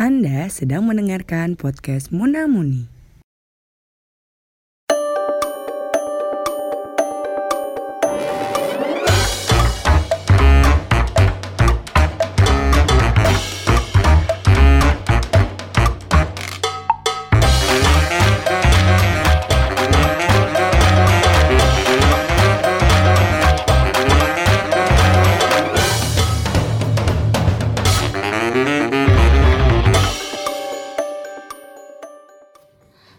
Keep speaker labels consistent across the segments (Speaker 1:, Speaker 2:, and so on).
Speaker 1: Anda sedang mendengarkan podcast Muna Muni.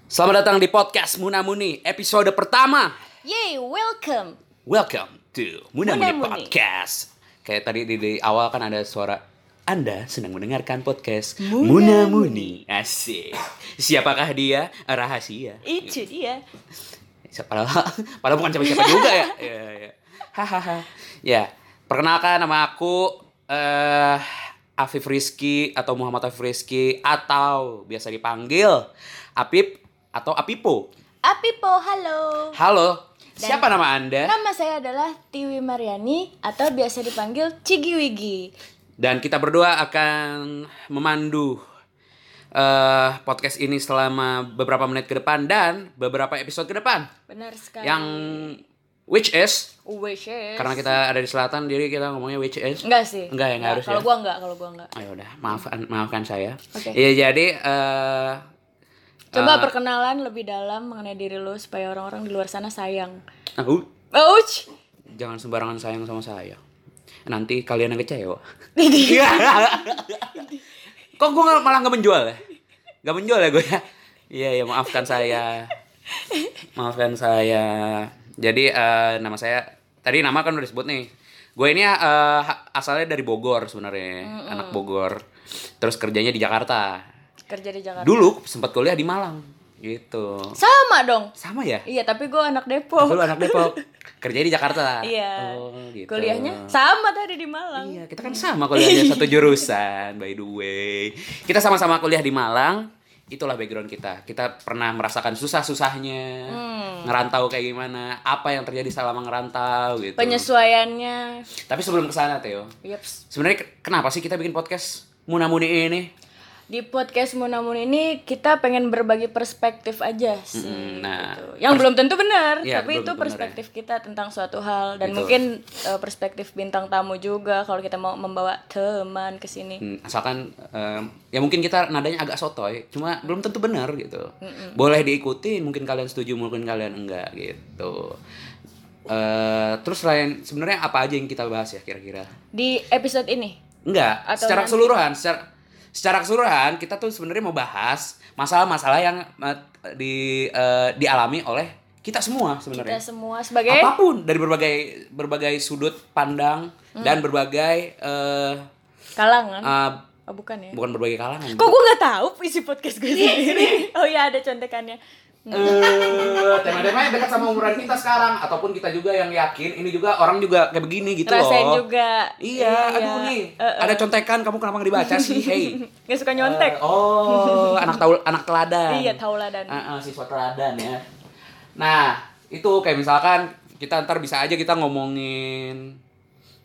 Speaker 2: Selamat datang di podcast Munamuni episode pertama.
Speaker 3: Yeay, welcome.
Speaker 2: Welcome to Munamuni
Speaker 3: Munamuni.
Speaker 2: Podcast. Kayak tadi di, di awal kan ada suara Anda sedang mendengarkan podcast
Speaker 3: Munamuni.
Speaker 2: Munamuni. Asik. Siapakah dia? Rahasia.
Speaker 3: Itu dia.
Speaker 2: Siapa- Padahal, padahal bukan siapa-siapa juga ya. Ya, ya. Hahaha. Ya, perkenalkan nama aku eh Afif Rizky atau Muhammad Afif Rizky atau biasa dipanggil Apip atau Apipo.
Speaker 3: Apipo, halo.
Speaker 2: Halo,
Speaker 3: Dan-
Speaker 2: siapa nama Anda?
Speaker 3: Nama saya adalah Tiwi Mariani atau biasa dipanggil Cigi Wigi.
Speaker 2: Dan kita berdua akan memandu eh podcast ini selama beberapa menit ke depan dan beberapa episode ke depan.
Speaker 3: Benar sekali. ya.
Speaker 2: Yang which is
Speaker 3: wishes.
Speaker 2: karena kita ada di selatan jadi kita ngomongnya which is.
Speaker 3: Enggak sih.
Speaker 2: Enggak ya, enggak harus ya.
Speaker 3: Kalau gua enggak, kalau gua enggak.
Speaker 2: Oh, ya udah, maafkan maafkan saya.
Speaker 3: Oke.
Speaker 2: Ya jadi eh
Speaker 3: Coba perkenalan lebih dalam mengenai diri lu supaya orang-orang di luar sana sayang.
Speaker 2: aku
Speaker 3: Ouch.
Speaker 2: jangan sembarangan sayang sama saya. Nanti kalian yang kecewa.
Speaker 3: Iya.
Speaker 2: Kok gue malah nggak menjual ya? Nggak menjual ya gue ya? Iya ya maafkan saya. Maafkan saya. Jadi eh, nama saya tadi nama kan udah disebut nih. Gue ini eh, ha- asalnya dari Bogor sebenarnya, anak Bogor. Terus kerjanya di Jakarta.
Speaker 3: Kerja di Jakarta.
Speaker 2: Dulu sempat kuliah di Malang gitu.
Speaker 3: Sama dong.
Speaker 2: Sama ya?
Speaker 3: Iya, tapi gua anak
Speaker 2: Dulu
Speaker 3: Depok.
Speaker 2: anak Depok. Kerjanya di Jakarta.
Speaker 3: Iya.
Speaker 2: Oh, gitu.
Speaker 3: Kuliahnya sama tadi di Malang.
Speaker 2: Iya, kita kan sama kuliahnya satu jurusan, by the way. Kita sama-sama kuliah di Malang. Itulah background kita. Kita pernah merasakan susah-susahnya, ngerantau kayak gimana, apa yang terjadi selama ngerantau gitu.
Speaker 3: Penyesuaiannya.
Speaker 2: Tapi sebelum ke sana, Teo.
Speaker 3: Yeps.
Speaker 2: Sebenarnya ke- kenapa sih kita bikin podcast Munamuni ini?
Speaker 3: di podcast Munamun ini kita pengen berbagi perspektif aja sih
Speaker 2: Mm, nah,
Speaker 3: gitu. yang belum tentu benar
Speaker 2: Iya,
Speaker 3: tapi
Speaker 2: belum
Speaker 3: itu
Speaker 2: tentu benar,
Speaker 3: perspektif kita tentang suatu hal dan
Speaker 2: Betul.
Speaker 3: mungkin eh, perspektif bintang tamu juga kalau kita mau membawa teman ke sini
Speaker 2: Hmm, Asalkan em, ya mungkin kita nadanya agak sotoy, cuma belum tentu benar gitu. Boleh diikutin, mungkin kalian setuju, mungkin kalian enggak gitu. Eh, terus lain sebenarnya apa aja yang kita bahas ya kira-kira?
Speaker 3: di episode ini
Speaker 2: Enggak,
Speaker 3: Atau
Speaker 2: secara
Speaker 3: nanti-
Speaker 2: keseluruhan, secara secara keseluruhan kita tuh sebenarnya mau bahas masalah-masalah yang eh, di eh, dialami oleh kita semua
Speaker 3: kita
Speaker 2: sebenarnya.
Speaker 3: semua sebagai
Speaker 2: Apapun dari berbagai berbagai sudut pandang
Speaker 3: Mm.
Speaker 2: dan berbagai eh,
Speaker 3: kalangan
Speaker 2: eh,
Speaker 3: oh, bukan ya
Speaker 2: bukan berbagai kalangan.
Speaker 3: kok gue nggak tahu isi podcast
Speaker 2: Iya,
Speaker 3: gue sendiri oh iya ada contekannya
Speaker 2: Gitu Eh, tema-temanya dekat sama umuran kita sekarang ataupun kita juga yang yakin ini juga orang juga kayak begini gitu
Speaker 3: rasain
Speaker 2: loh.
Speaker 3: juga Eh,
Speaker 2: Iya, aduh nih. Ada contekan kamu kenapa nggak dibaca sih? Hey.
Speaker 3: nggak suka nyontek
Speaker 2: Eh, oh, anak tahu anak teladan.
Speaker 3: iya tauladan
Speaker 2: Ah, ah, siswa teladan ya. Nah, itu kayak misalkan kita ntar bisa aja kita ngomongin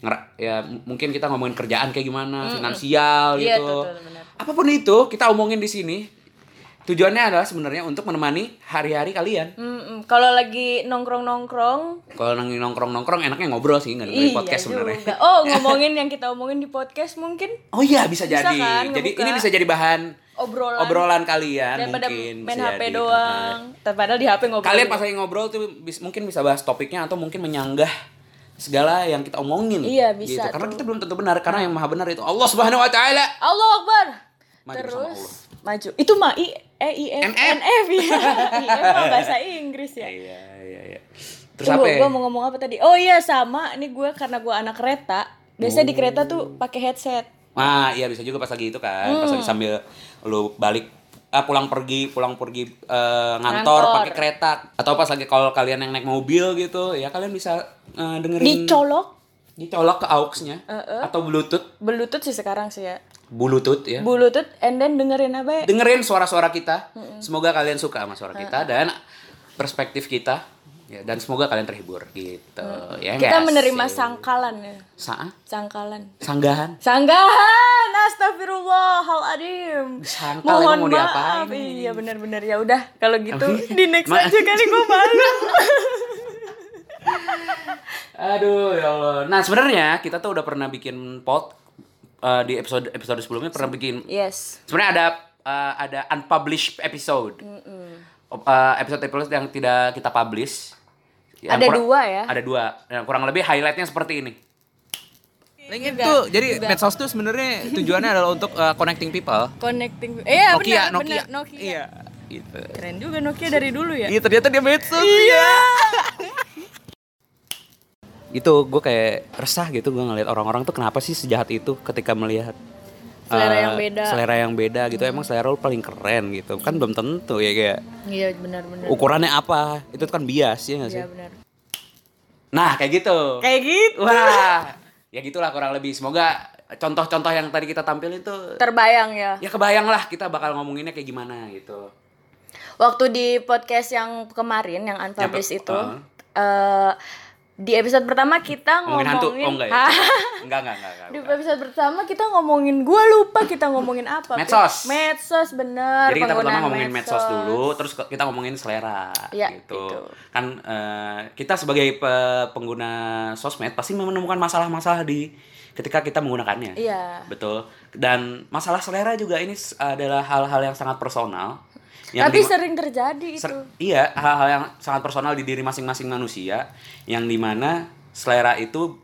Speaker 2: ngera- ya m- mungkin kita ngomongin kerjaan kayak gimana, finansial
Speaker 3: Iya,
Speaker 2: gitu.
Speaker 3: tuh, tuh, benar.
Speaker 2: Apapun itu kita omongin di sini. Tujuannya adalah sebenarnya untuk menemani hari-hari kalian.
Speaker 3: Mm-mm. Kalau lagi nongkrong-nongkrong,
Speaker 2: Kalau nongkrong nongkrong nongkrong enaknya ngobrol sih nggak dengerin podcast sebenarnya.
Speaker 3: Iya juga. Oh, ngomongin yang kita omongin di podcast mungkin
Speaker 2: Oh iya bisa,
Speaker 3: Bisa
Speaker 2: jadi.
Speaker 3: kan,
Speaker 2: jadi
Speaker 3: ngebuka.
Speaker 2: ini bisa jadi bahan
Speaker 3: obrolan,
Speaker 2: obrolan kalian
Speaker 3: daripada
Speaker 2: mungkin.
Speaker 3: main
Speaker 2: bisa
Speaker 3: HP
Speaker 2: jadi. eh.
Speaker 3: doang. Padahal di HP ngobrol.
Speaker 2: Kalian
Speaker 3: juga.
Speaker 2: pas lagi ngobrol tuh bis- mungkin bisa bahas topiknya atau mungkin menyanggah segala yang kita omongin. Gitu.
Speaker 3: Iya, bisa
Speaker 2: Karena
Speaker 3: tuh.
Speaker 2: kita belum tentu benar karena yang maha benar itu Allah Subhanahu wa taala.
Speaker 3: Allah Akbar.
Speaker 2: Maju
Speaker 3: Terus
Speaker 2: bersama Allah.
Speaker 3: maju. Itu mah I E I F
Speaker 2: NF.
Speaker 3: N F ya. IF mah bahasa Inggris ya.
Speaker 2: Iya, iya, iya. Terus apa?
Speaker 3: Tunggu,
Speaker 2: ya?
Speaker 3: gue mau ngomong apa tadi? Oh iya sama, ini gue karena gue anak kereta. Biasanya di kereta
Speaker 2: Oh.
Speaker 3: tuh pakai headset.
Speaker 2: Nah, iya bisa juga pas lagi itu kan, pas
Speaker 3: Hmm.
Speaker 2: lagi sambil lu balik ah, pulang pergi, pulang pergi eh, ngantor
Speaker 3: Ngantor.
Speaker 2: pakai kereta atau pas lagi kalau kalian yang naik mobil gitu, ya kalian bisa eh, dengerin
Speaker 3: Dicolok
Speaker 2: dicolok ke aux-nya atau bluetooth,
Speaker 3: Bluetooth sih sekarang sih ya.
Speaker 2: bluetooth ya.
Speaker 3: Bluetooth and then dengerin apa? ya?
Speaker 2: dengerin suara-suara kita. Semoga kalian suka sama suara kita dan perspektif kita Ya, dan semoga kalian terhibur gitu. Ya,
Speaker 3: Kita
Speaker 2: nggak
Speaker 3: menerima
Speaker 2: sih?
Speaker 3: sangkalan ya.
Speaker 2: Sa-
Speaker 3: Sangkalan.
Speaker 2: sanggahan.
Speaker 3: Sanggahan, astagfirullah, hal adim.
Speaker 2: Sangkal
Speaker 3: Mohon
Speaker 2: emang mau
Speaker 3: maaf.
Speaker 2: diapain ini?
Speaker 3: Iya benar-benar ya udah kalau gitu
Speaker 2: Apa?
Speaker 3: di next
Speaker 2: Ma-
Speaker 3: aja kali gue malu.
Speaker 2: Aduh, ya Allah. Nah, sebenarnya kita tuh udah pernah bikin pot eh, di episode episode sebelumnya pernah bikin
Speaker 3: yes.
Speaker 2: sebenarnya ada eh, ada unpublished episode eh, episode episode yang tidak kita publish Yang
Speaker 3: Ada
Speaker 2: kurang-
Speaker 3: dua ya?
Speaker 2: ada dua yang kurang lebih highlightnya seperti ini
Speaker 4: Link itu jadi medsos Nah, tuh sebenarnya tujuannya adalah untuk uh, connecting people.
Speaker 3: Connecting. Iya
Speaker 4: Nokia,
Speaker 3: benar,
Speaker 4: Nokia.
Speaker 3: benar, Nokia.
Speaker 4: Iya, gitu.
Speaker 3: Keren juga Nokia dari dulu ya.
Speaker 4: Iya, ternyata dia medsos. Iya. itu gue kayak resah gitu gue ngeliat orang-orang tuh kenapa sih sejahat itu ketika melihat
Speaker 3: Selera
Speaker 4: uh,
Speaker 3: yang beda. Hmm.
Speaker 4: selera yang beda gitu emang selera lu paling keren gitu kan belum tentu ya kayak
Speaker 3: Iya benar-benar.
Speaker 4: ukurannya apa itu kan bias ya nggak sih
Speaker 3: Iya benar.
Speaker 2: nah kayak gitu
Speaker 3: Kayak gitu.
Speaker 2: wah ya gitulah kurang lebih semoga contoh-contoh yang tadi kita tampilin tuh
Speaker 3: Terbayang ya.
Speaker 2: ya kebayang lah kita bakal ngomonginnya kayak gimana gitu
Speaker 3: Waktu di podcast yang kemarin yang unpublished
Speaker 2: Yang pe-
Speaker 3: itu
Speaker 2: uh.
Speaker 3: eh, di episode pertama kita
Speaker 2: ngomongin
Speaker 3: ngomongin,
Speaker 2: hantu oh enggak ya enggak enggak enggak, enggak,
Speaker 3: Di
Speaker 2: enggak.
Speaker 3: episode pertama kita ngomongin gua lupa kita ngomongin apa. Pi.
Speaker 2: Medsos.
Speaker 3: Medsos bener.
Speaker 2: Jadi kita pertama
Speaker 3: penggunaan
Speaker 2: ngomongin medsos dulu, terus ke- kita ngomongin selera
Speaker 3: Iya,
Speaker 2: gitu.
Speaker 3: gitu.
Speaker 2: Kan eh, kita sebagai pe- pengguna sosmed pasti menemukan masalah-masalah di ketika kita menggunakannya.
Speaker 3: Iya.
Speaker 2: Betul. Dan masalah selera juga ini s- adalah hal-hal yang sangat personal.
Speaker 3: Tapi
Speaker 2: dima-
Speaker 3: sering terjadi itu.
Speaker 2: ser- iya, hal-hal yang sangat personal di diri masing-masing manusia yang dimana selera itu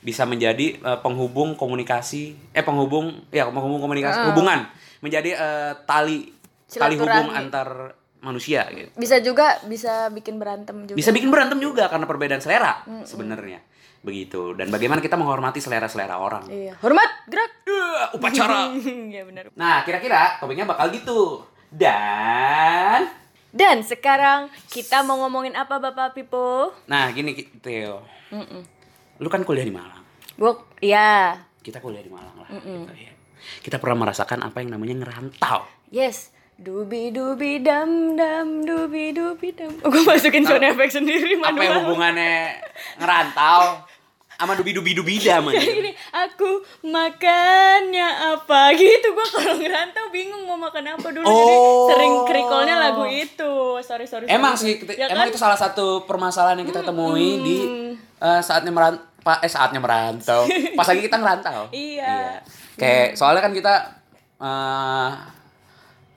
Speaker 2: bisa menjadi eh, penghubung komunikasi eh penghubung ya penghubung komunikasi hubungan menjadi eh, tali tali hubung
Speaker 3: Silaturahmi.
Speaker 2: antar manusia gitu.
Speaker 3: Bisa juga bisa bikin berantem juga.
Speaker 2: Bisa bikin berantem juga karena perbedaan selera sebenarnya. Begitu. Dan bagaimana kita menghormati selera-selera orang.
Speaker 3: Iya. Hormat, gerak.
Speaker 2: Eh, upacara.
Speaker 3: Iya benar.
Speaker 2: nah, kira-kira topiknya bakal gitu. Dan
Speaker 3: Dan sekarang kita mau ngomongin apa Bapak Pipo?
Speaker 2: nah gini Ki- Teo.
Speaker 3: Mm-mm.
Speaker 2: Lu kan kuliah di Malang.
Speaker 3: Gua iya.
Speaker 2: kita kuliah di Malang lah gitu ya. Kita pernah merasakan apa yang namanya ngerantau.
Speaker 3: Yes. Dubi dubi dam dam dubi dubi dam. Oh, gua masukin sound effect sendiri
Speaker 2: Apa yang
Speaker 3: manual.
Speaker 2: hubungannya ngerantau sama dubi dubi dubi man?
Speaker 3: Kayak gini, aku makannya apa gitu gua kalau ngerantau bingung mau makan apa dulu jadi
Speaker 2: Oh.
Speaker 3: sering krikolnya lagu itu sorry sorry
Speaker 2: Emang sih,
Speaker 3: sorry.
Speaker 2: kita-
Speaker 3: Ya
Speaker 2: emang
Speaker 3: kan?
Speaker 2: itu salah satu permasalahan yang kita temui di eh, saatnya merantau, eh saatnya merantau. Pas lagi kita ngerantau.
Speaker 3: Iya.
Speaker 2: Kayak soalnya kan kita eh,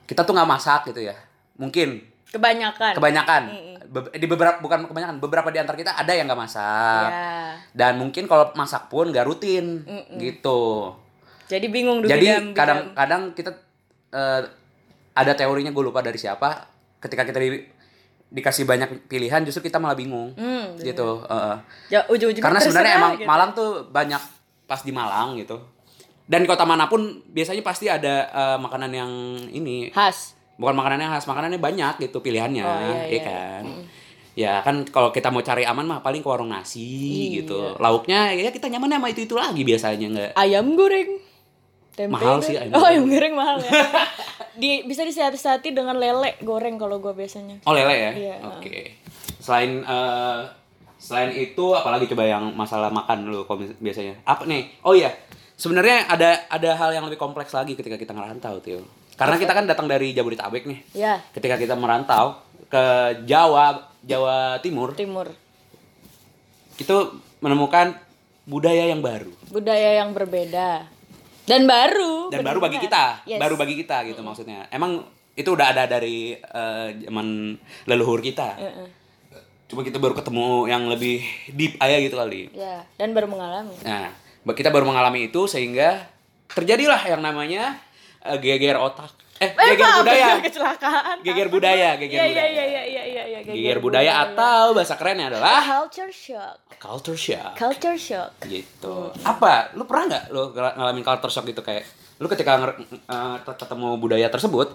Speaker 2: kita tuh nggak masak gitu ya. Mungkin
Speaker 3: kebanyakan
Speaker 2: kebanyakan Be- di beberapa bukan kebanyakan beberapa di antara kita ada yang nggak masak
Speaker 3: Ya.
Speaker 2: dan mungkin kalau masak pun nggak rutin gitu
Speaker 3: jadi bingung dubi dam,
Speaker 2: jadi
Speaker 3: dubi dam.
Speaker 2: kadang-kadang kita eh, ada teorinya gue lupa dari siapa ketika kita di- dikasih banyak pilihan justru kita malah bingung
Speaker 3: Hmm, bener.
Speaker 2: gitu eh, eh.
Speaker 3: ya, ujung-ujungnya
Speaker 2: karena sebenarnya
Speaker 3: terserah
Speaker 2: emang
Speaker 3: gitu.
Speaker 2: Malang tuh banyak pas di Malang gitu dan di kota manapun biasanya pasti ada eh, makanan yang ini
Speaker 3: khas
Speaker 2: bukan makanannya khas makanannya banyak gitu pilihannya
Speaker 3: Oh, iya,
Speaker 2: iya,
Speaker 3: iya.
Speaker 2: kan ya kan kalau kita mau cari aman mah paling ke warung nasi
Speaker 3: Iya.
Speaker 2: gitu lauknya ya kita nyaman sama itu itu lagi biasanya nggak
Speaker 3: ayam goreng tempe
Speaker 2: Mahal
Speaker 3: goreng.
Speaker 2: sih ayam
Speaker 3: oh
Speaker 2: goreng.
Speaker 3: ayam goreng mahal ya di bisa disiasati dengan lele goreng kalau gua biasanya
Speaker 2: oh lele ya
Speaker 3: Iya.
Speaker 2: oke selain eh, selain itu apalagi coba yang masalah makan dulu kalau mis- biasanya apa nih oh iya sebenarnya ada ada hal yang lebih kompleks lagi ketika kita ngerantau tuh karena kita kan datang dari Jabodetabek nih
Speaker 3: ya
Speaker 2: ketika kita merantau ke Jawa Jawa Timur
Speaker 3: timur
Speaker 2: itu menemukan budaya yang baru
Speaker 3: budaya yang berbeda dan baru
Speaker 2: dan baru
Speaker 3: benar.
Speaker 2: bagi kita
Speaker 3: Oh, Yes.
Speaker 2: baru bagi kita gitu maksudnya emang itu udah ada dari eh, zaman leluhur kita cuma kita baru ketemu yang lebih deep aja gitu kali
Speaker 3: ya dan baru mengalami
Speaker 2: nah ba- kita baru mengalami itu sehingga terjadilah yang namanya eh, geger otak eh geger
Speaker 3: Apa?
Speaker 2: budaya
Speaker 3: kecelakaan
Speaker 2: geger budaya geger
Speaker 3: Iya iya
Speaker 2: budaya
Speaker 3: iya iya iya iya, iya
Speaker 2: geger budaya atau bahasa kerennya adalah
Speaker 3: culture shock
Speaker 2: culture shock
Speaker 3: culture shock
Speaker 2: gitu apa lu pernah nggak lu ngel- ngalamin culture shock gitu kayak lu ketika nger- eh, ketemu budaya tersebut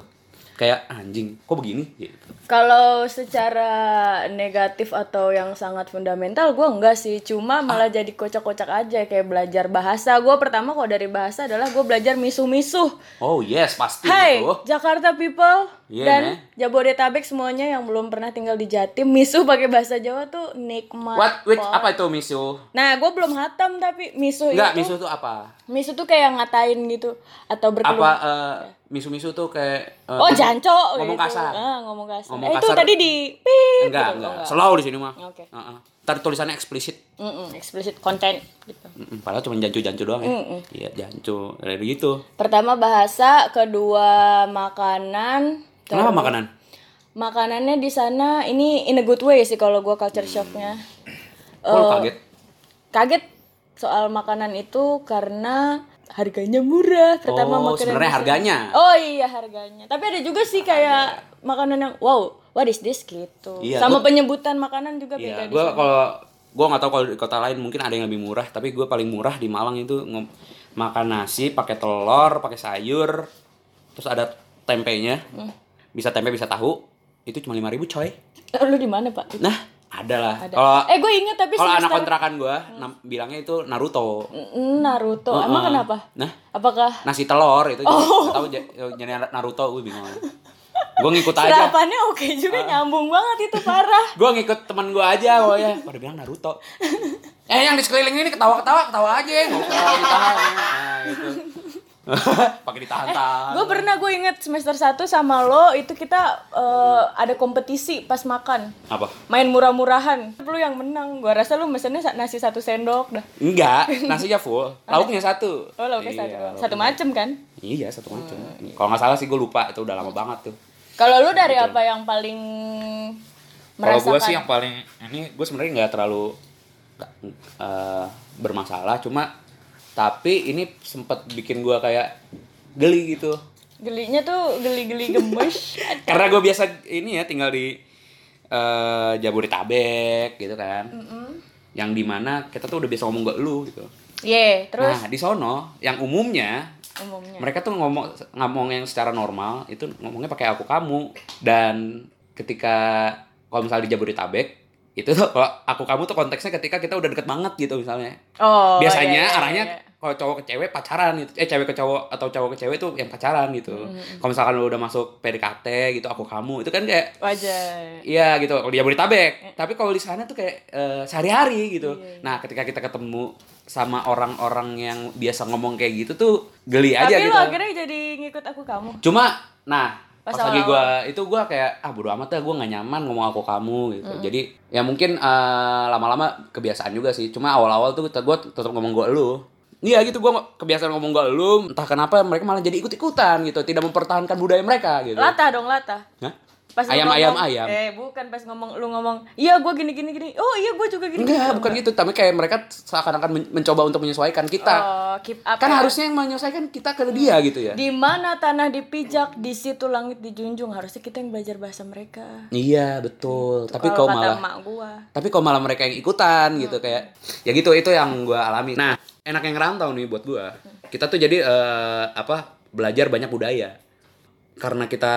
Speaker 2: kayak anjing kok begini gitu.
Speaker 3: Kalau secara negatif atau yang sangat fundamental gue enggak sih,
Speaker 2: Ah.
Speaker 3: cuma malah jadi kocak-kocak aja kayak belajar bahasa. Gue pertama kok dari bahasa adalah gue belajar misuh-misuh.
Speaker 2: oh yes pasti
Speaker 3: Hai
Speaker 2: gitu
Speaker 3: Jakarta people
Speaker 2: Iya,
Speaker 3: dan
Speaker 2: nah.
Speaker 3: Jabodetabek semuanya yang belum pernah tinggal di Jatim, misuh pakai bahasa Jawa tuh nikmat.
Speaker 2: what which
Speaker 3: Pol.
Speaker 2: apa itu misu
Speaker 3: Nah, gue belum hatam tapi misuh
Speaker 2: enggak
Speaker 3: itu.
Speaker 2: misu itu apa
Speaker 3: Misuh tuh kayak ngatain gitu atau berkeluh.
Speaker 2: apa eh, misu-misu tuh kayak eh,
Speaker 3: Oh, janco
Speaker 2: ngomong
Speaker 3: gitu.
Speaker 2: kasar.
Speaker 3: Ah, ngomong kasar.
Speaker 2: Ngomong
Speaker 3: eh, itu
Speaker 2: kasar.
Speaker 3: tadi di pip.
Speaker 2: enggak
Speaker 3: gitu.
Speaker 2: enggak
Speaker 3: Oh,
Speaker 2: slow di sini mah
Speaker 3: Oke.
Speaker 2: Heeh. Ntar tulisannya eksplisit
Speaker 3: Mm-mm, explicit content gitu.
Speaker 2: Mm-mm, padahal cuma jancu-jancu doang ya iya jancu gitu. kayak begitu
Speaker 3: Pertama bahasa, kedua makanan.
Speaker 2: kenapa
Speaker 3: Ter-
Speaker 2: makanan
Speaker 3: Makanannya di sana ini in a good way sih kalau gua
Speaker 2: Hmm.
Speaker 3: culture shocknya.
Speaker 2: kok lu
Speaker 3: Eh,
Speaker 2: kaget
Speaker 3: Kaget soal makanan itu karena harganya murah. Pertama
Speaker 2: oh
Speaker 3: makanan
Speaker 2: sebenarnya
Speaker 3: di sana.
Speaker 2: harganya
Speaker 3: Oh iya harganya. Tapi ada juga sih kayak makanan yang wow, what is this gitu.
Speaker 2: Iya,
Speaker 3: Sama
Speaker 2: gua-
Speaker 3: penyebutan makanan juga beda
Speaker 2: Iya,
Speaker 3: di
Speaker 2: gue
Speaker 3: sana.
Speaker 2: kalau gue nggak tahu kalau di kota lain mungkin ada yang lebih murah, tapi gue paling murah di Malang itu ngom- makan nasi pakai telur, pakai sayur, terus ada tempenya,
Speaker 3: Hmm.
Speaker 2: bisa tempe bisa tahu, itu cuma lima ribu coy.
Speaker 3: Eh, Lu di mana, Pak?
Speaker 2: Nah, ada lah.
Speaker 3: Ada.
Speaker 2: Kalau
Speaker 3: eh gue inget tapi
Speaker 2: kalau anak
Speaker 3: semester-
Speaker 2: kontrakan gue bilangnya itu Naruto.
Speaker 3: N- Naruto.
Speaker 2: Heeh.
Speaker 3: Emang kenapa? Oh.
Speaker 2: Nah,
Speaker 3: Apakah
Speaker 2: nasi telur itu jadi, tahu ja- jadi Naruto gue bingung. gue ngikut aja.
Speaker 3: serapannya oke juga
Speaker 2: Ah.
Speaker 3: nyambung banget itu parah.
Speaker 2: gue ngikut teman gue aja pokoknya pada bilang Naruto eh yang di sekeliling ini ketawa ketawa ketawa aja ya, nggak usah ditahan nah, gitu. pakai ditahan tahan
Speaker 3: Gue pernah gue inget semester 1 sama lo itu kita eh, ada kompetisi pas makan.
Speaker 2: apa
Speaker 3: Main murah-murahan. Lu yang menang. Gua rasa lu mesennya sa- nasi satu sendok dah.
Speaker 2: enggak nasinya full lauknya satu
Speaker 3: Oh, lauknya
Speaker 2: Iya,
Speaker 3: satu.
Speaker 2: lauk-
Speaker 3: Satu macem kan?
Speaker 2: iya satu macam kalau nggak salah sih gue lupa itu udah lama banget tuh
Speaker 3: Kalau lu dari apa yang paling
Speaker 2: kalau gue
Speaker 3: merasakan?
Speaker 2: sih yang paling ini gue sebenarnya nggak terlalu nggak, eh, bermasalah cuma tapi ini sempet bikin gue kayak geli gitu
Speaker 3: Gelinya tuh geli-geli gemes.
Speaker 2: karena gue biasa ini ya tinggal di eh, Jabodetabek gitu kan yang dimana kita tuh udah biasa ngomong gak lu gitu
Speaker 3: Ye, terus Ya.
Speaker 2: nah di sono yang umumnya
Speaker 3: umumnya.
Speaker 2: mereka tuh ngomong ngomong yang secara normal itu ngomongnya pakai aku kamu dan ketika kalau misalnya di Jabodetabek itu tuh kalau aku kamu tuh konteksnya ketika kita udah deket banget gitu misalnya
Speaker 3: Oh,
Speaker 2: biasanya
Speaker 3: iya, iya,
Speaker 2: arahnya
Speaker 3: iya.
Speaker 2: kalau cowok ke cewek pacaran gitu eh cewek ke cowok atau cowok ke cewek itu yang pacaran gitu kalau misalkan lu udah masuk PDKT gitu aku kamu itu kan kayak
Speaker 3: wajar.
Speaker 2: Iya gitu, kalau di
Speaker 3: Eh.
Speaker 2: Jabodetabek. Tapi kalau di sana tuh kayak eh, sehari-hari gitu.
Speaker 3: Iya,
Speaker 2: Nah, ketika kita ketemu sama orang-orang yang biasa ngomong kayak gitu tuh geli
Speaker 3: Tapi
Speaker 2: aja
Speaker 3: lu
Speaker 2: gitu.
Speaker 3: akhirnya jadi ngikut aku kamu.
Speaker 2: Cuma nah
Speaker 3: Pas
Speaker 2: pas, lagi gua
Speaker 3: awal-awal.
Speaker 2: itu gua kayak ah bodo amat ya gua nggak nyaman ngomong aku kamu gitu. Jadi ya mungkin eh, lama-lama kebiasaan juga sih. Cuma awal-awal tuh kita- gua tetap ngomong gua lu. Iya gitu gua nggak- kebiasaan ngomong gua lu, entah kenapa mereka malah jadi ikut-ikutan gitu, tidak mempertahankan budaya mereka gitu.
Speaker 3: Latah dong, latah.
Speaker 2: Hah?
Speaker 3: Pas lu
Speaker 2: Ayam,
Speaker 3: ngomong-
Speaker 2: ayam, ayam.
Speaker 3: Eh, bukan pas ngomong lu ngomong, "Iya, gua gini gini gini." Oh, iya gua juga gini.
Speaker 2: Enggak, bukan gitu. Tapi kayak mereka seakan-akan men- mencoba untuk menyesuaikan kita.
Speaker 3: Oh, keep up.
Speaker 2: kan
Speaker 3: ya.
Speaker 2: harusnya yang menyelesaikan kita ke dia gitu ya
Speaker 3: di mana tanah dipijak, di situ langit dijunjung. Harusnya kita yang belajar bahasa mereka.
Speaker 2: iya betul tapi kau
Speaker 3: Kalau kata
Speaker 2: malah
Speaker 3: emak gua.
Speaker 2: tapi kau malah mereka yang ikutan gitu kayak ya gitu itu yang gua alami nah enak yang ngerantau nih buat gua kita tuh jadi eh, apa belajar banyak budaya karena kita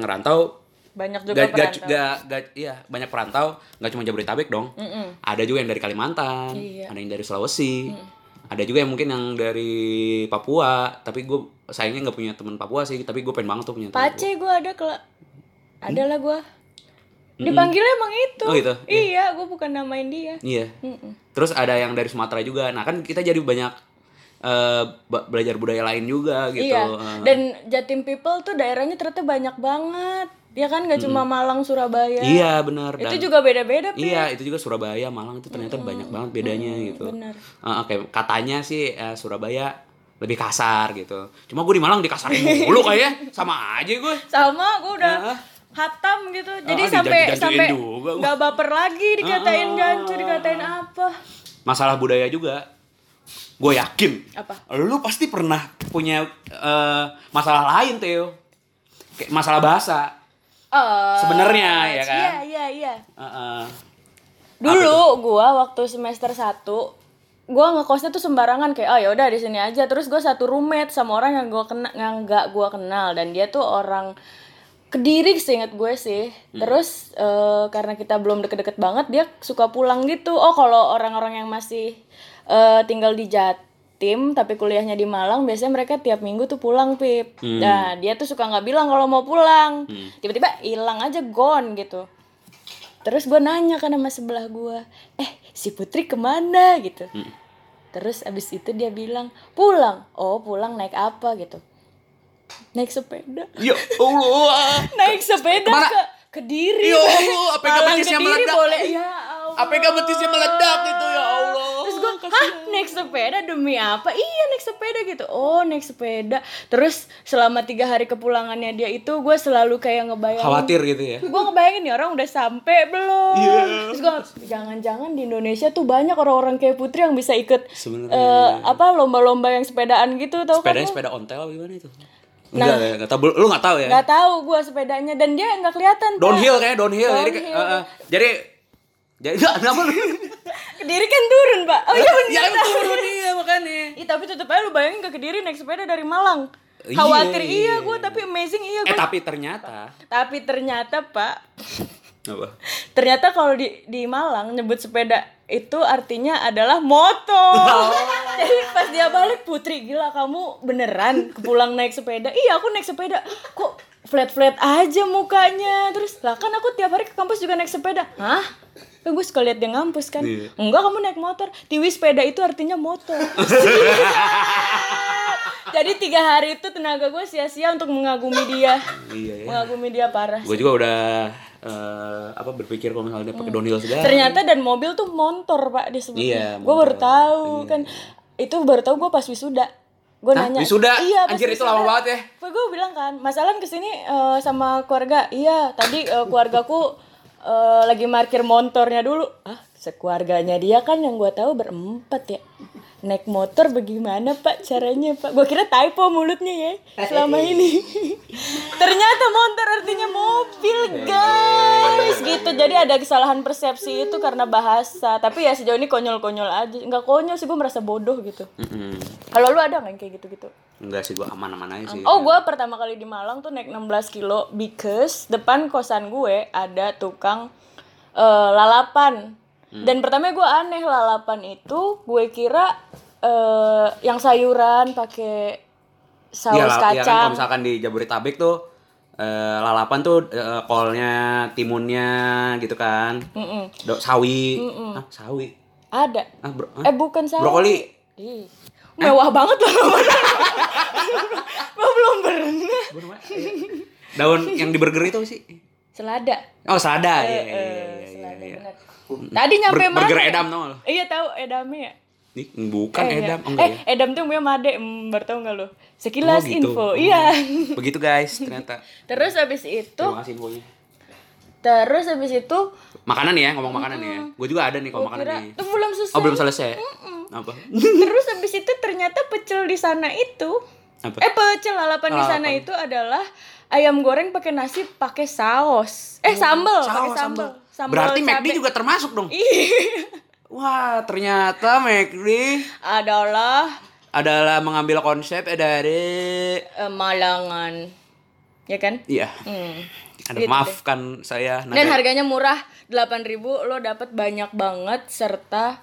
Speaker 2: ngerantau
Speaker 3: Banyak juga
Speaker 2: gak, gak,
Speaker 3: perantau.
Speaker 2: gak, gak- iya banyak perantau nggak cuma Jabodetabek dong ada juga yang dari Kalimantan
Speaker 3: Mm. Iya. Mm.
Speaker 2: ada yang dari Sulawesi ada juga yang mungkin yang dari Papua tapi gue sayangnya nggak punya teman Papua sih tapi gue pengen banget tuh punya teman
Speaker 3: Pace gue ada kela ada lah gue dipanggilnya emang itu
Speaker 2: Hmm? Oh, gitu?
Speaker 3: iya gue bukan namain dia
Speaker 2: Iya. Terus ada yang dari Sumatera juga. Nah, kan kita jadi banyak eh, be- belajar budaya lain juga gitu.
Speaker 3: iya
Speaker 2: Eh,
Speaker 3: dan Jatim people tuh daerahnya ternyata banyak banget ya kan nggak cuma Malang Surabaya
Speaker 2: Hmm. iya, benar. Dan
Speaker 3: itu juga beda-beda Pi.
Speaker 2: Iya, itu juga Surabaya, Malang itu ternyata banyak banget bedanya gitu.
Speaker 3: benar.
Speaker 2: Eh, oke, katanya sih eh, Surabaya lebih kasar gitu. Cuma gue di Malang dikasarin mulu kayaknya. Sama aja gue.
Speaker 3: sama gue udah
Speaker 2: Heeh.
Speaker 3: hatam gitu jadi
Speaker 2: Heeh,
Speaker 3: sampai
Speaker 2: dijanji-janjiin
Speaker 3: sampai
Speaker 2: juga gua.
Speaker 3: nggak baper lagi dikatain jancu dikatain apa
Speaker 2: Masalah budaya juga. Gue yakin.
Speaker 3: Apa?
Speaker 2: Lu pasti pernah punya eh, masalah lain, Theo. Kayak masalah bahasa.
Speaker 3: Eh,
Speaker 2: Sebenarnya, ya kan?
Speaker 3: iya iya iya
Speaker 2: Heeh.
Speaker 3: Dulu gua waktu semester 1 gua ngekosnya tuh sembarangan kayak oh ya udah di sini aja. Terus gua satu roommate sama orang yang gua kena yang nggak gua kenal dan dia tuh orang Kediri seingat gue sih. Terus eh, karena kita belum deket-deket banget dia suka pulang gitu. Oh kalau orang-orang yang masih eh, tinggal di Jatim tapi kuliahnya di Malang biasanya mereka tiap minggu tuh pulang pip. Nah dia tuh suka nggak bilang kalau mau pulang. Tiba-tiba hilang aja gone gitu. Terus gue nanya kan sama sebelah gue, eh si Putri kemana gitu. Terus abis itu dia bilang pulang. Oh pulang naik apa gitu? Naik sepeda
Speaker 2: Ya Allah.
Speaker 3: naik sepeda
Speaker 2: Kemana?
Speaker 3: ke Kediri.
Speaker 2: Ya Allah, APK
Speaker 3: Malang
Speaker 2: betisnya
Speaker 3: Kediri
Speaker 2: meledak.
Speaker 3: Boleh. Ya Allah.
Speaker 2: APK betisnya meledak itu, ya Allah.
Speaker 3: Terus gue, hah naik sepeda demi apa? Iya naik sepeda gitu. Oh naik sepeda. Terus selama tiga hari kepulangannya dia itu gue selalu kayak ngebayangin.
Speaker 2: Khawatir gitu ya.
Speaker 3: Gue ngebayangin nih orang udah sampai belum.
Speaker 2: Iya.
Speaker 3: Terus gue jangan-jangan di Indonesia tuh banyak orang-orang kayak Putri yang bisa ikut
Speaker 2: Sebenarnya,
Speaker 3: eh, apa lomba-lomba yang sepedaan gitu tau kan?
Speaker 2: Sepedanya sepeda ontel apa gimana itu? Enggak, nah, enggak tahu. Lu enggak tahu ya?
Speaker 3: Gak tahu gue sepedanya dan dia nggak kelihatan. Pak.
Speaker 2: Downhill kayaknya downhill. Jadi kayak-
Speaker 3: Downhill.
Speaker 2: eh, eh, jadi jadi enggak kenapa lu?
Speaker 3: Kediri kan turun, Pak. Oh iya benar.
Speaker 2: Ya emang turun iya makanya.
Speaker 3: Ih, tapi tetep aja lu bayangin ke Kediri naik sepeda dari Malang.
Speaker 2: Iya,
Speaker 3: Khawatir
Speaker 2: iya.
Speaker 3: iya, gue tapi amazing iya
Speaker 2: Eh
Speaker 3: gue.
Speaker 2: tapi ternyata
Speaker 3: tapi ternyata, Pak,
Speaker 2: apa?
Speaker 3: ternyata kalau di di Malang nyebut sepeda itu artinya adalah motor. Jadi pas dia balik Putri gila kamu beneran pulang naik sepeda. Iya, aku naik sepeda. Kok flat-flat aja mukanya. Terus lah kan aku tiap hari ke kampus juga naik sepeda. Hah? Kan gue suka lihat dia ngampus kan.
Speaker 2: Iya.
Speaker 3: Enggak, kamu naik motor. Tiwi sepeda itu artinya motor. Jadi tiga hari itu tenaga gue sia-sia untuk mengagumi dia.
Speaker 2: Iya ya.
Speaker 3: Mengagumi dia parah.
Speaker 2: Gue juga udah eh, apa berpikir kalau misalnya dia pakai downhill segala.
Speaker 3: Ternyata dan mobil tuh montor
Speaker 2: Iya,
Speaker 3: pak disebutnya. Gua gue baru tahu kan. Itu baru tahu gue pas wisuda. Gue
Speaker 2: Hah?
Speaker 3: nanya. "Iya,
Speaker 2: Wisuda? Anjir, itu lama banget ya.
Speaker 3: Gue bilang kan, Mas Alan kesini eh, sama keluarga. Iya tadi eh, keluargaku eh, lagi markir montornya dulu. Ah sekeluarganya dia kan yang gue tahu berempat ya. Naik motor bagaimana pak caranya pak? Gue kira typo mulutnya ya selama
Speaker 2: Eh.
Speaker 3: ini. Ternyata motor artinya mobil
Speaker 2: Iya,
Speaker 3: guys gitu. Jadi ada kesalahan persepsi itu karena bahasa. Tapi ya sejauh ini konyol-konyol aja. Nggak konyol sih gue merasa bodoh gitu.
Speaker 2: Mm-mm.
Speaker 3: Kalau lu ada nggak yang kayak gitu-gitu?
Speaker 2: Enggak sih gue aman-aman aja sih.
Speaker 3: Oh, gue pertama kali di Malang tuh naik 16 kilo because depan kosan gue ada tukang eh, lalapan.
Speaker 2: Hmm.
Speaker 3: Dan pertama gue aneh lalapan itu gue kira eh, yang sayuran pakai saus
Speaker 2: Iya, la- iya kan kalau
Speaker 3: kacang.
Speaker 2: misalkan di Jabodetabek tuh eh, lalapan tuh eh, kolnya, timunnya gitu kan.
Speaker 3: Mm-mm.
Speaker 2: Do- sawi. Hah, sawi.
Speaker 3: Ada.
Speaker 2: Ah, bro- ah,
Speaker 3: Eh bukan sawi.
Speaker 2: brokoli.
Speaker 3: Ih, Mewah banget loh. Gue belum pernah.
Speaker 2: Daun yang di burger itu apa sih.
Speaker 3: Selada.
Speaker 2: Oh, selada. Iya,
Speaker 3: Eh,
Speaker 2: iya, iya, iya,
Speaker 3: selada
Speaker 2: iya.
Speaker 3: benar. Tadi nyampe
Speaker 2: Ber-
Speaker 3: mana?
Speaker 2: burger
Speaker 3: ya?
Speaker 2: edam tau nggak lo?
Speaker 3: Iya tahu edamnya ya.
Speaker 2: Nih, bukan
Speaker 3: Eh,
Speaker 2: edam. Oh,
Speaker 3: iya.
Speaker 2: enggak
Speaker 3: eh,
Speaker 2: ya.
Speaker 3: Edam tuh yang punya Made, hmm, baru tau nggak lo?
Speaker 2: Oh,
Speaker 3: Sekilas
Speaker 2: gitu.
Speaker 3: info,
Speaker 2: Oh.
Speaker 3: iya.
Speaker 2: Begitu guys, ternyata.
Speaker 3: Terus abis itu,
Speaker 2: Terima kasih infonya.
Speaker 3: terus abis itu,
Speaker 2: Makanan nih ya, ngomong makanan nih ya. Gue juga ada nih kalau makanan
Speaker 3: kira
Speaker 2: nih.
Speaker 3: tuh belum selesai.
Speaker 2: Oh, belum selesai. Apa?
Speaker 3: terus abis itu ternyata pecel di sana itu,
Speaker 2: Apa? Ah,
Speaker 3: eh pecel lalapan di sana itu adalah ayam goreng pakai nasi pakai saus, eh sambel, pakai
Speaker 2: Oh, Saus,
Speaker 3: sambel. Sambel Iya.
Speaker 2: Berarti McD
Speaker 3: cabe.
Speaker 2: juga termasuk dong.
Speaker 3: Ih,
Speaker 2: Wah, ternyata McD
Speaker 3: adalah
Speaker 2: adalah mengambil konsep eh, dari
Speaker 3: eh, Malangan, ya kan?
Speaker 2: iya.
Speaker 3: Hmm.
Speaker 2: Ada maafkan saya Nah,
Speaker 3: Dan
Speaker 2: nada-
Speaker 3: harganya murah, 8.000 lo dapat banyak banget serta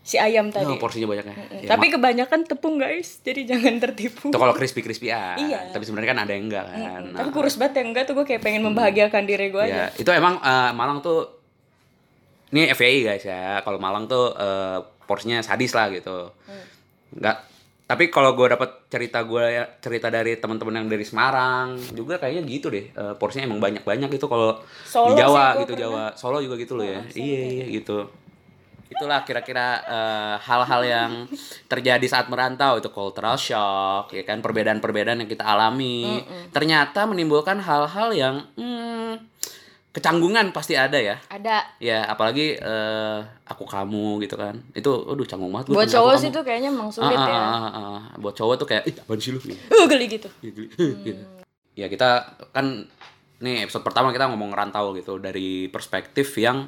Speaker 3: si ayam tadi.
Speaker 2: Oh, porsinya banyak ya. Ya,
Speaker 3: Tapi kebanyakan tepung guys, jadi jangan
Speaker 2: ma-
Speaker 3: tertipu.
Speaker 2: itu kalau crispy crispy ah.
Speaker 3: hmm. Iya.
Speaker 2: Tapi sebenarnya kan ada yang enggak kan. Nah, Hmm.
Speaker 3: Tapi kurus banget ya enggak tuh gue kayak pengen membahagiakan diri gue aja.
Speaker 2: ya, itu emang eh, Malang tuh ini FYI guys ya. Kalau Malang tuh eh, porsinya sadis lah gitu.
Speaker 3: Hmm.
Speaker 2: Enggak tapi kalau gue dapat cerita gue ya, cerita dari teman-teman yang dari Semarang juga kayaknya gitu deh Eh, porsinya emang banyak banyak gitu kalau
Speaker 3: Solo
Speaker 2: di Jawa
Speaker 3: sih gua
Speaker 2: gitu
Speaker 3: pernah.
Speaker 2: Jawa Solo juga gitu loh ya. Iya, iya gitu. Itulah kira-kira eh, hal-hal yang terjadi saat merantau itu cultural shock ya kan perbedaan-perbedaan yang kita alami. Ternyata menimbulkan hal-hal yang hmm, kecanggungan pasti ada ya.
Speaker 3: Ada.
Speaker 2: Ya, apalagi eh, aku kamu gitu kan. Itu aduh canggung banget gua sama
Speaker 3: Buat
Speaker 2: aku
Speaker 3: cowok
Speaker 2: kamu.
Speaker 3: sih tuh kayaknya emang
Speaker 2: Ah,
Speaker 3: sulit
Speaker 2: ah,
Speaker 3: ya.
Speaker 2: ah, ah, ah. Buat cowok tuh kayak ih apaan sih lu gitu.
Speaker 3: Uh, geli gitu.
Speaker 2: Gitu. Gitu. ya kita kan nih episode pertama kita ngomong rantau gitu dari perspektif yang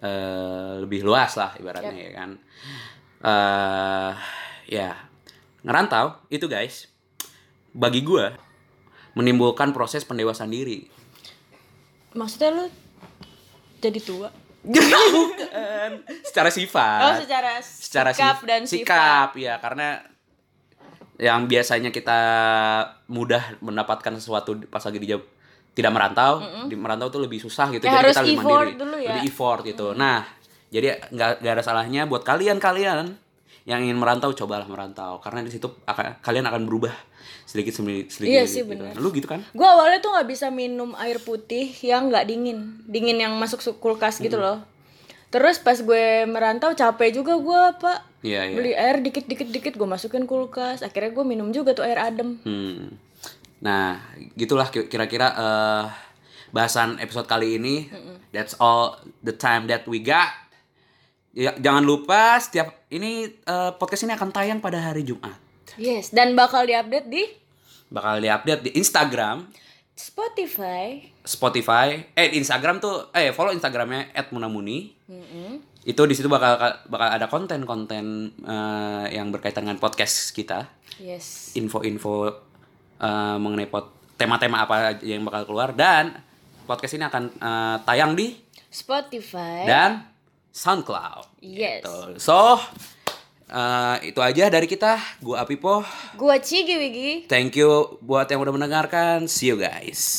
Speaker 2: eh, lebih luas lah ibaratnya ya kan eh ya ngerantau itu guys bagi gua menimbulkan proses pendewasaan diri.
Speaker 3: Maksudnya lu jadi tua?
Speaker 2: Bukan. Secara sifat.
Speaker 3: Oh, secara
Speaker 2: Ah, secara
Speaker 3: sikap
Speaker 2: sif-
Speaker 3: dan
Speaker 2: sikap ya karena yang biasanya kita mudah mendapatkan sesuatu di- pas lagi di Jab- tidak merantau di merantau tuh lebih susah gitu jadi
Speaker 3: Ya, harus
Speaker 2: kita lebih
Speaker 3: effort
Speaker 2: mandiri
Speaker 3: dulu ya.
Speaker 2: lebih effort gitu nah jadi nggak nggak ada salahnya buat kalian kalian yang ingin merantau cobalah merantau karena di situ akan kalian akan berubah sedikit sedikit, sedikit
Speaker 3: Iya sih,
Speaker 2: gitu.
Speaker 3: benar.
Speaker 2: lu gitu kan
Speaker 3: Gue awalnya tuh nggak bisa minum air putih yang nggak dingin, dingin yang masuk su- kulkas gitu
Speaker 2: Hmm.
Speaker 3: loh. Terus pas gue merantau capek juga gue pak,
Speaker 2: iya iya
Speaker 3: beli air dikit-dikit dikit gue masukin kulkas. Akhirnya gue minum juga tuh air adem.
Speaker 2: Hmm. Nah, gitulah ki- kira-kira eh, bahasan episode kali ini. That's all the time that we got. Ya, jangan lupa setiap ini eh, podcast ini akan tayang pada hari Jumat.
Speaker 3: Yes. Dan bakal diupdate di
Speaker 2: Bakal diupdate di Instagram,
Speaker 3: Spotify.
Speaker 2: Spotify. Eh di Instagram tuh eh follow Instagramnya @munamuni. Itu di situ bakal bakal ada konten-konten eh, yang berkaitan dengan podcast kita.
Speaker 3: Yes.
Speaker 2: info-info uh, mengenai pot tema-tema apa aja yang bakal keluar dan podcast ini akan uh, tayang di
Speaker 3: Spotify.
Speaker 2: dan Gitu. SoundCloud.
Speaker 3: Yes.
Speaker 2: Tuh. So uh, itu aja dari kita. Gua Apipo.
Speaker 3: Gue Cigi Wigi.
Speaker 2: Thank you buat yang udah mendengarkan. See you guys.